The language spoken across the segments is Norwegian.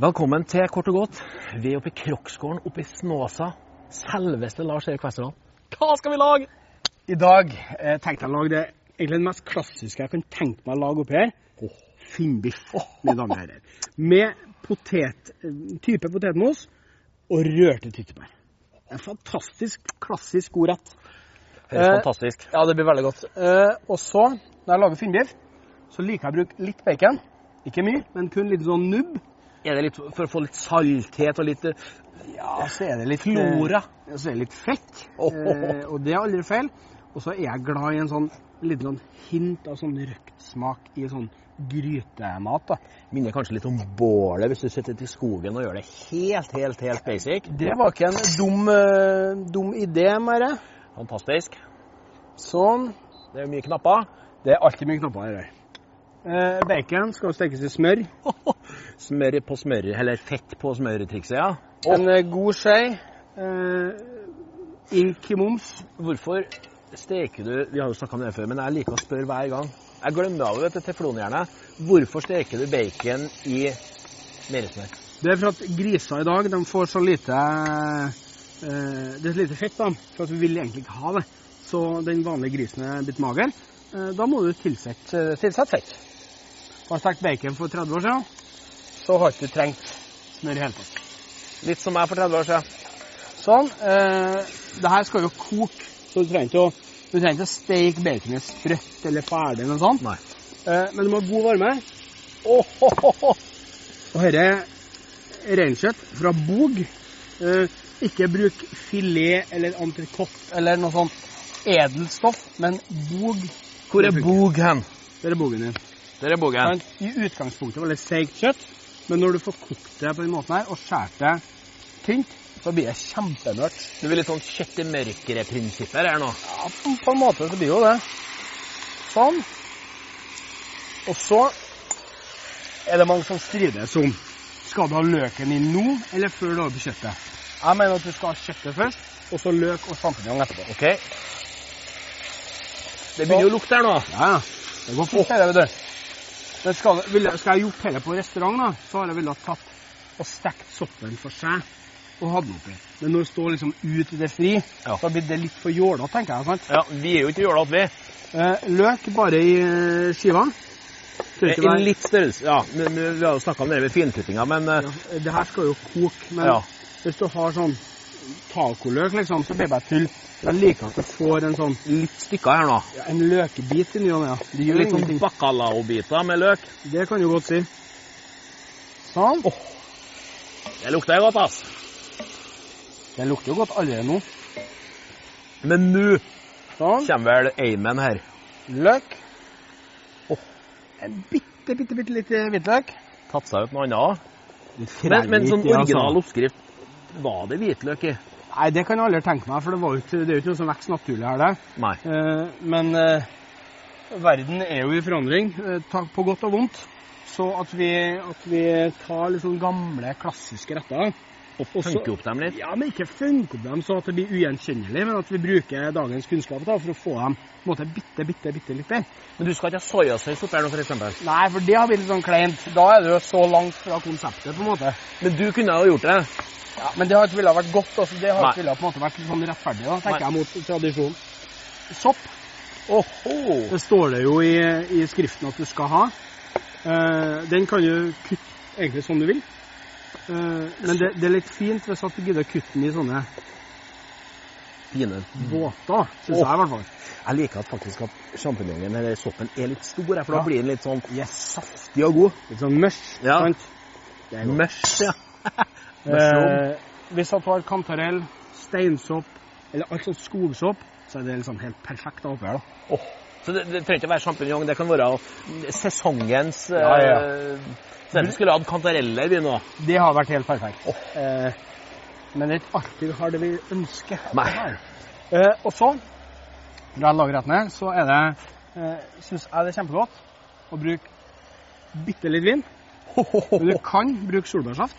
Velkommen til Kort og godt. Vi er oppe i Kroksgården oppe i Snåsa. Selveste Lars Erik Westerdal. Hva skal vi lage? I dag eh, tenkte jeg å lage det egentlig det mest klassiske jeg kan tenke meg å lage oppi her. Finnbiff, mine damer og herrer. Med potet, eh, type potetmos og rørte tyttebær. En fantastisk, klassisk god rett. Høres Eh, fantastisk. Ja, det blir veldig godt. Eh, og så, når jeg lager finnbiff, så liker jeg å bruke litt bacon. Ikke mye, men kun litt sånn nubb. Er det litt for å få litt salthet og litt eh, Ja, så er det litt flora? Eh, så er det litt fett. Åh. Eh, og det er aldri feil. Og så er jeg glad i en sånn liten sånn hint av sånn røkt smak i sånn grytemat. da. Minner kanskje litt om bålet hvis du sitter ute i skogen og gjør det helt, helt, helt basic. Det var ikke en dum, eh, dum idé, Mære. Fantastisk. Sånn. Det er mye knapper. Det er alltid mye knapper her. Eh, bacon skal stekes i smør. Smør på smør, eller fett på smørtrikset, ja. Åh. En eh, god skje. Eh, ink i moms. Hvorfor steker du Vi har jo snakka om det før, men jeg liker å spørre hver gang. Jeg glemmer av dette teflonjernet. Hvorfor steker du bacon i meresmør? Det er for at griser i dag de får så lite eh, Det er så lite fett, da, for at vi vil egentlig ikke ha det. Så den vanlige grisen er blitt mager. Eh, da må du tilsette, tilsette fett. Har du stekt bacon for 30 år siden, så har ikke du trengt smør i det hele tatt. Litt som jeg for 30 år siden. Sånn. Eh, det her skal jo koke, så du trenger ikke å du trenger ikke å steke baconet sprøtt eller ferdig. eller noe sånt. Nei. Eh, men du må ha god varme. Åh, ho, ho, ho. Og dette er reinkjøtt fra Bog. Eh, ikke bruk filet eller entrecôte eller noe sånt edelt stoff, men Bog. Hvor er Bog hen? Det er Bogen din. Der er Bogen. Men I utgangspunktet var det seigt kjøtt, men når du får kokt det på den måten her og skåret det tynt, så blir det kjempemørkt. Du vil litt sånn kjøtt i mørkere-prinsipper her nå. Ja, på, på en måte så blir jo det. Sånn. Og så er det mange som strides om skal du ha løken inn nå eller før du har på kjøttet. Jeg mener at du skal ha kjøttet først, og så løk og sjampinjong etterpå. Ok. Det begynner jo å lukte her nå. Ja, ja. Det går fort, det, vet du. Men skal, det- ville, skal jeg gjort dette på restaurant, da, så hadde jeg ville ha tatt og stekt soppen for seg og hatt den oppi. Men når det står liksom ut i det fri, Ja. så blir det litt for jåla, tenker jeg. sant? Ja, Vi er jo ikke jålete, vi. Eh, løk bare i eh, skiva. Tør ikke I være- litt størrelse Ja, men- men vi har jo snakka om det med finkuttinga, men eh, Ja, det her skal jo koke, men Ja. hvis du har sånn tacoløk, liksom, så blir det bare tull. Jeg liker at du får en sånn litt stykker her nå. ja, en løkebit i ny og ne. ja. Det gjør Litt sånn ingenting. bacalao-biter med løk. Det kan du godt si. Sånn. Det lukter godt, ass. Det lukter jo godt allerede nå. Men nå Sånn. kommer vel Amen her. Løk. En bitte, bitte, bitte lite hvitløk. Tatt seg ut noe annet òg. Men, men sånn original oppskrift Var det hvitløk i? altså. Nei, det kan jeg aldri tenke meg, for det, var jo ikke, det er jo ikke noe som vokser naturlig her. Det. Nei. Eh, men eh, verden er jo i forandring, eh, ta- på godt og vondt. Så at vi, at vi tar litt sånn gamle, klassiske retter Og Også- funke opp dem litt. Ja, men ikke funke opp dem så at det blir ugjenkjennelig, men at vi bruker dagens kunnskap da, for å få dem på en måte bitte, bitte, bitte litt bedre. Men du skal ikke ha soyasaus oppi her nå, f.eks.? Nei, for det har blitt litt sånn kleint. Da er det jo så langt fra konseptet, på en måte. Men du kunne ha gjort det. Ja, men det har ikke ville vært godt. Altså, det har Nei. ikke ville på en måte vært sånn rettferdig, da, Nei. tenker jeg, mot tradisjon. Sopp Åhå. det står det jo i, i skriften at du skal ha. Eh, den kan du kutte egentlig som du vil. Eh, men det, det er litt fint hvis at du gidder å kutte den i sånne Fine. båter, syns Åh. jeg i hvert fall. Jeg liker at faktisk at sjampinjongen eller soppen er litt stor, her, for da Ja. blir den litt sånn Yes. saftig og god. Litt sånn mørs. Ja. Sant? Det er godt. Mørs, ja. Mørsrom. Eh, hvis at du har kantarell, steinsopp eller alt sånt skogsopp, så er det liksom helt perfekt oppi her. da. Åh. Så det, det trenger ikke å være sjampinjong, det kan være sesongens eh, Ja, ja, Så vi skulle hatt kantareller, vi nå. Det har vært helt perfekt. Eh, men det er ikke alltid vi har det vi ønsker. Nei. Eh, og så, når jeg lager rettene, så er det eh, syns jeg det er kjempegodt og bruke bitte litt vin. Men du kan bruke solbærsaft.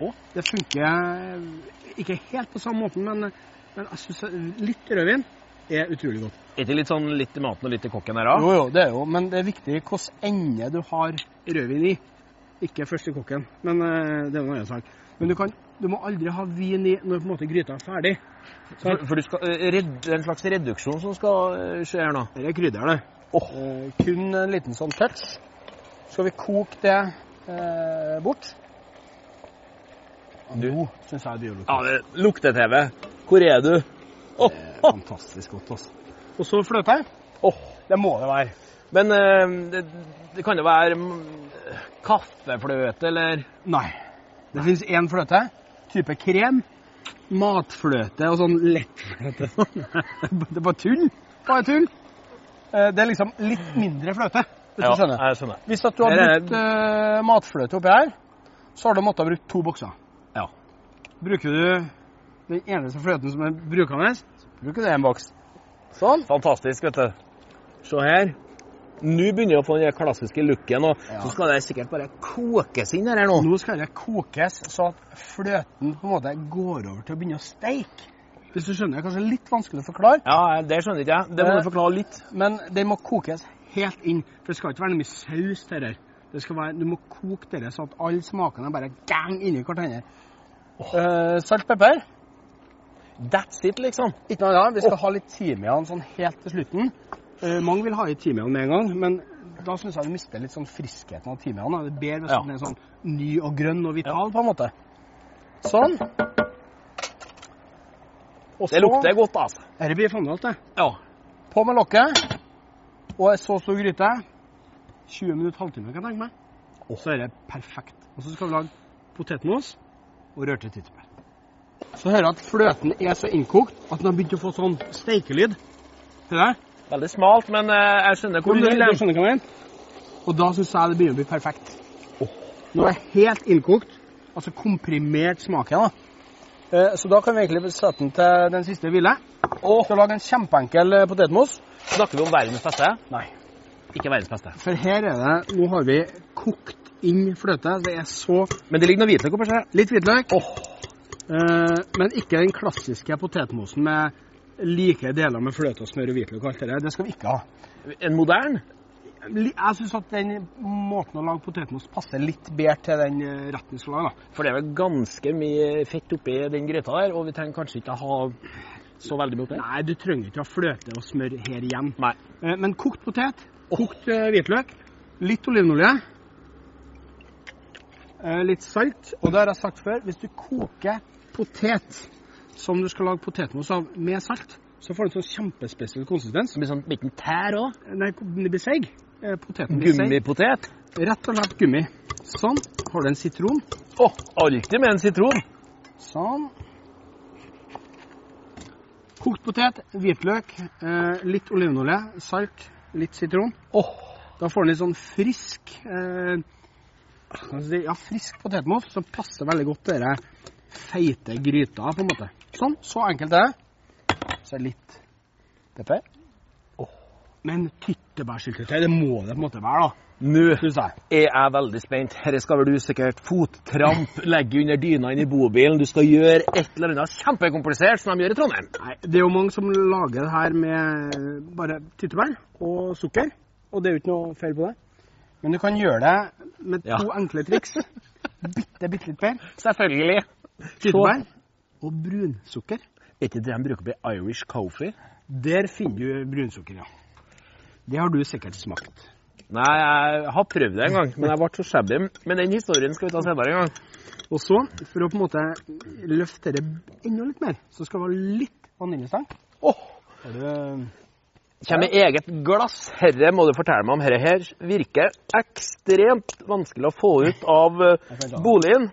Å. Det funker ikke helt på samme måten, men, eh, men jeg syns litt rødvin er utrolig godt. Er det litt sånn litt i maten og litt i kokken her òg? Jo, jo, det er jo, men det er viktig hvilken ende du har rødvin i. Ikke først i kokken, men eh, det er en annen sak. Men du, kan, du må aldri ha vin i når på en måte gryta er ferdig. For, for du skal, eh, red, det er en slags reduksjon som skal eh, skje her nå. Dette er krydder, det. Åh. Eh, kun en liten sånn touch. Skal vi koke det eh, bort? Du- Nå syns jeg det gjør Ja, det lukter-TV. Hvor er du? Åh, åh, eh, fantastisk godt. Altså. Og så fløte. åh. Det må det være. Men eh, det, det kan jo være mm, kaffefløte, eller Nei. Det fins én fløte. Type krem. Matfløte og sånn lettfløte. det er bare tull. Bare tull. Eh, Det er liksom litt mindre fløte, hvis du skjønner. jeg skjønner. Hvis at du har Her er- brukt eh, matfløte oppi her, så har du måttet bruke to bokser. Ja. Bruker du den eneste fløten som er brukende, så bruker du en boks. Sånn. Fantastisk, vet du. Se her. Nå begynner jeg å få den der klassiske looken, og Ja. så skal det sikkert bare kokes inn her nå. Nå skal det kokes så at fløten på en måte går over til å begynne å steike. Hvis du skjønner, det er kanskje litt vanskelig å forklare, Ja, det skjønner ikke jeg. Det må Eh, du forklare litt. men den må kokes helt inn. For det skal ikke være noe mye saus til det. her. Det skal være, du må koke det her så at alle smakene er bare gang inni hverandre. Eh, salt, pepper. That's it, liksom. Ikke noe annet. Vi skal ha litt timian sånn helt til slutten. Eh, mange vil ha i timian med en gang, men da syns jeg du mister litt sånn friskheten av timian. da. Det er bedre hvis Ja. den er sånn ny og grønn og vital, på en måte. Sånn. Og Det lukter godt, altså. Dette blir fandalt, det. Ja. På med lokket. Og en så stor gryte. 20 minutter, halvtime, kan jeg tenke meg. Så er det perfekt. Og så skal vi lage potetmos og rørte tyttebær. Så hører jeg at fløten er så innkokt at den har begynt å få sånn steikelyd. Hører jeg? Veldig smalt, men eh, jeg skjønner hvor Men du du, vil. du hen. skjønner hva jeg mener? Og da syns jeg det begynner å bli perfekt. Nå er det helt innkokt, altså komprimert smaken. da. Eh, Så da kan vi egentlig sette den til den siste hvile. Og skal lage en kjempeenkel eh, potetmos. Snakker vi om verdens beste? Nei. Ikke verdens beste. For her er det Nå har vi kokt inn fløte. Det er så Men det ligger noe hvitløk oppi her. Litt hvitløk, Åh, eh, men ikke den klassiske potetmosen med like deler med fløte og smør og hvitløk og alt det der. Det skal vi ikke ha. en modern? Li- Jeg syns at den måten å lage potetmos passer litt bedre til den eh, retten vi skal lage. da. For det er vel ganske mye fett oppi den gryta der, og vi trenger kanskje ikke ha så veldig mye oppi. Nei, du trenger ikke ha fløte og smør her igjen. Nei. Eh, Men kokt potet, kokt eh, hvitløk, litt olivenolje, eh, litt salt. Og det har jeg sagt før, hvis du koker potet som du skal lage potetmos av med salt, så får du en sånn kjempespesiell konsistens. Det blir sånn liten tær òg. Nei, den blir seig. Eh, Poteten blir seig. Gummipotet. Rett og slett gummi. Sånn. Har du en sitron? Åh, alltid med en sitron. Sånn. Kokt potet, hvitløk, eh, litt olivenolje, salt, litt sitron. Åh, Da får den litt sånn frisk eh, hva skal jeg si, Ja, frisk potetmos som passer veldig godt til den feite gryta, på en måte. Sånn. Så enkelt er det. Så litt pepper. Åh. Men tyttebærsyltetøy, det må det på en måte være, da. nå Syns jeg. er jeg veldig spent. Her skal vel du sikkert fottramp, legge under dyna inn i bobilen. Du skal gjøre et eller annet kjempekomplisert som de gjør i Trondheim. Nei, det er jo mange som lager det her med bare tyttebær og sukker, og det er jo ikke noe feil på det. Men du kan gjøre det med to Ja. enkle triks. Bitte, bitte litt mer. Selvfølgelig. Tyttebær og brunsukker. Er ikke det de bruker på Irish coffee? Der finner du brunsukker, ja. Det har du sikkert smakt. Nei, jeg har prøvd det en gang, men jeg ble så shabby. Men den historien skal vi ta senere en gang. Og så, for å på en måte løfte det enda litt mer, så skal det være litt vaniljestang. Åh, Er det- Kjem i eget glass. Herre må du fortelle meg om. Herre her virker ekstremt vanskelig å få ut av eh, Jeg kan ta den. boligen.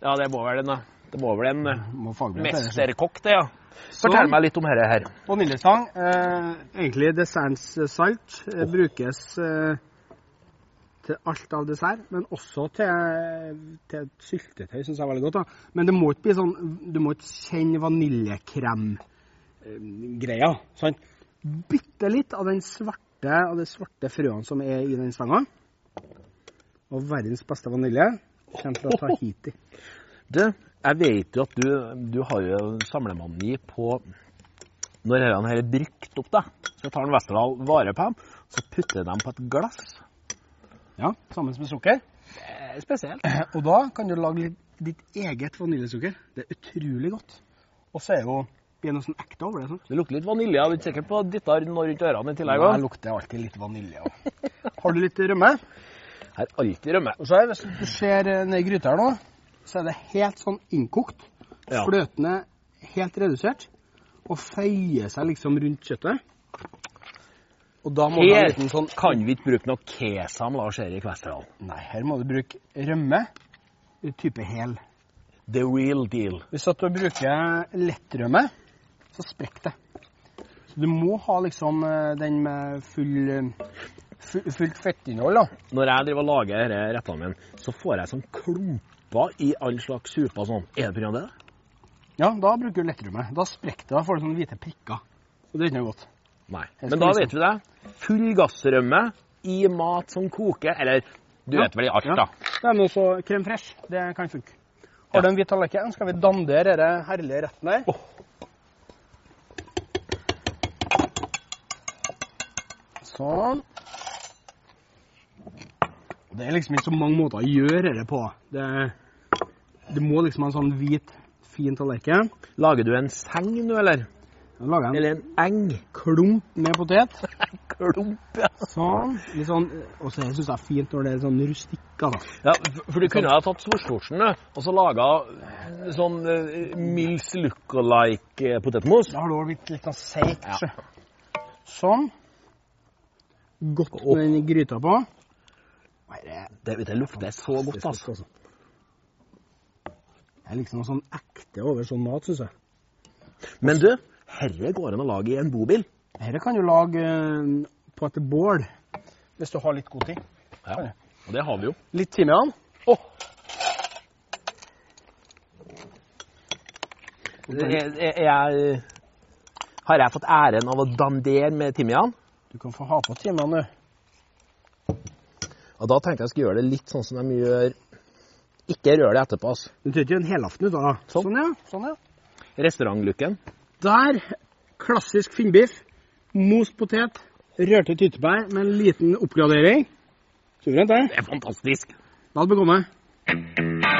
Ja, det må vel en, eh, det må vel en eh, Må fagbrette det, så. mesterkokk, det, ja. Sånn. Fortell meg litt om herre her. Vaniljestang. Eh, egentlig dessertens salt eh, brukes eh, til alt av dessert, men også til, til syltetøy, syns jeg er veldig godt. da. Men det må ikke bli sånn, du må ikke kjenne eh, vaniljekrem-greia. sant? Bitte litt av den svarte svarte, av de svarte frøene som er i den stanga. Og verdens beste vanilje kommer fra Tahiti. Du, jeg vet jo at du, du har jo samlemani på Når denne her er brukt opp, da, så tar en Westerdal vare på dem, så putter jeg dem på et glass. Ja, sammen med sukker. Spesielt. Og da kan du lage litt, ditt eget vaniljesukker. Det er utrolig godt. Og så er jo det er noe sånn ekte over det. sånn. Det lukter litt vanilje. Jeg er sikker på at dytta noe rundt ørene i tillegg Jeg òg. lukter alltid litt vanilje òg. Har du litt rømme? Her er alltid rømme. Og så er, Hvis du ser eh, ned i gryta her nå, så er det helt sånn innkokt. Ja. Fløtene helt redusert. Og føyer seg liksom rundt kjøttet. Og da må du ha en Her liten sånn kan vi ikke bruke noe kesam Lars Erik Westerdal. Nei, her må du bruke rømme. Type hel. The real deal. Hvis at du bruker lettrømme, så sprekker det. Så du må ha liksom eh, den med full, eh, fu- fullt fettinnhold, da. Når jeg driver og lager disse rettene mine, så får jeg sånn klumper i all slags super sånn. Er det pga. det? Ja, da bruker du lettrømme. Da sprekker det. Da får du sånne hvite prikker. Og det er ikke noe godt. Nei. Jeg Men skal da liksom- vet vi det. Full gassrømme i mat som koker. Eller du Ja. vet vel i alt, Ja. da. Det er noe så krem fresh. Det kan funke. Ja. Har du en hvit tallerken, skal vi dandere denne herlige retten her. Åh. Sånn. Det er liksom ikke så mange måter å gjøre dette på. Det, du må liksom ha en sånn hvit, fin tallerken. Lager du en seng nå, eller? Jeg lager en Eller en eng? klump med potet. Klump, ja. Sånn. Litt sånn. Og så syns jeg det er fint når det er sånn rustikker, da. ja. f- For du kunne ha tatt Svartskjorten du, og så laga sånn eh, Mills look-alike potetmos. Da har det også blitt litt sånn seigt. Ja. sjø. Sånn. Godt med den gryta på. Nei, det er Det, det lukter så godt, altså. altså. Det er liksom noe sånn ekte over sånn mat, syns jeg. Men du, herre går an å lage i en bobil. Dette kan du lage eh, på et bål. Hvis du har litt god tid. Ja, og det har vi jo. Litt timian. Jeg, jeg, jeg, har jeg fått æren av å dandere med timian? Du kan få ha på timian, du. Og da tenkte jeg skulle gjøre det litt sånn som de gjør Ikke rør det etterpå, altså. Du trenger ikke en helaften ut av det. Sånn. ja. sånn, ja. Restaurantlooken. Der, klassisk finnbiff. Most potet, rørte tyttebær med en liten oppgradering. Suverent, det. Det er fantastisk. Vel bekomme.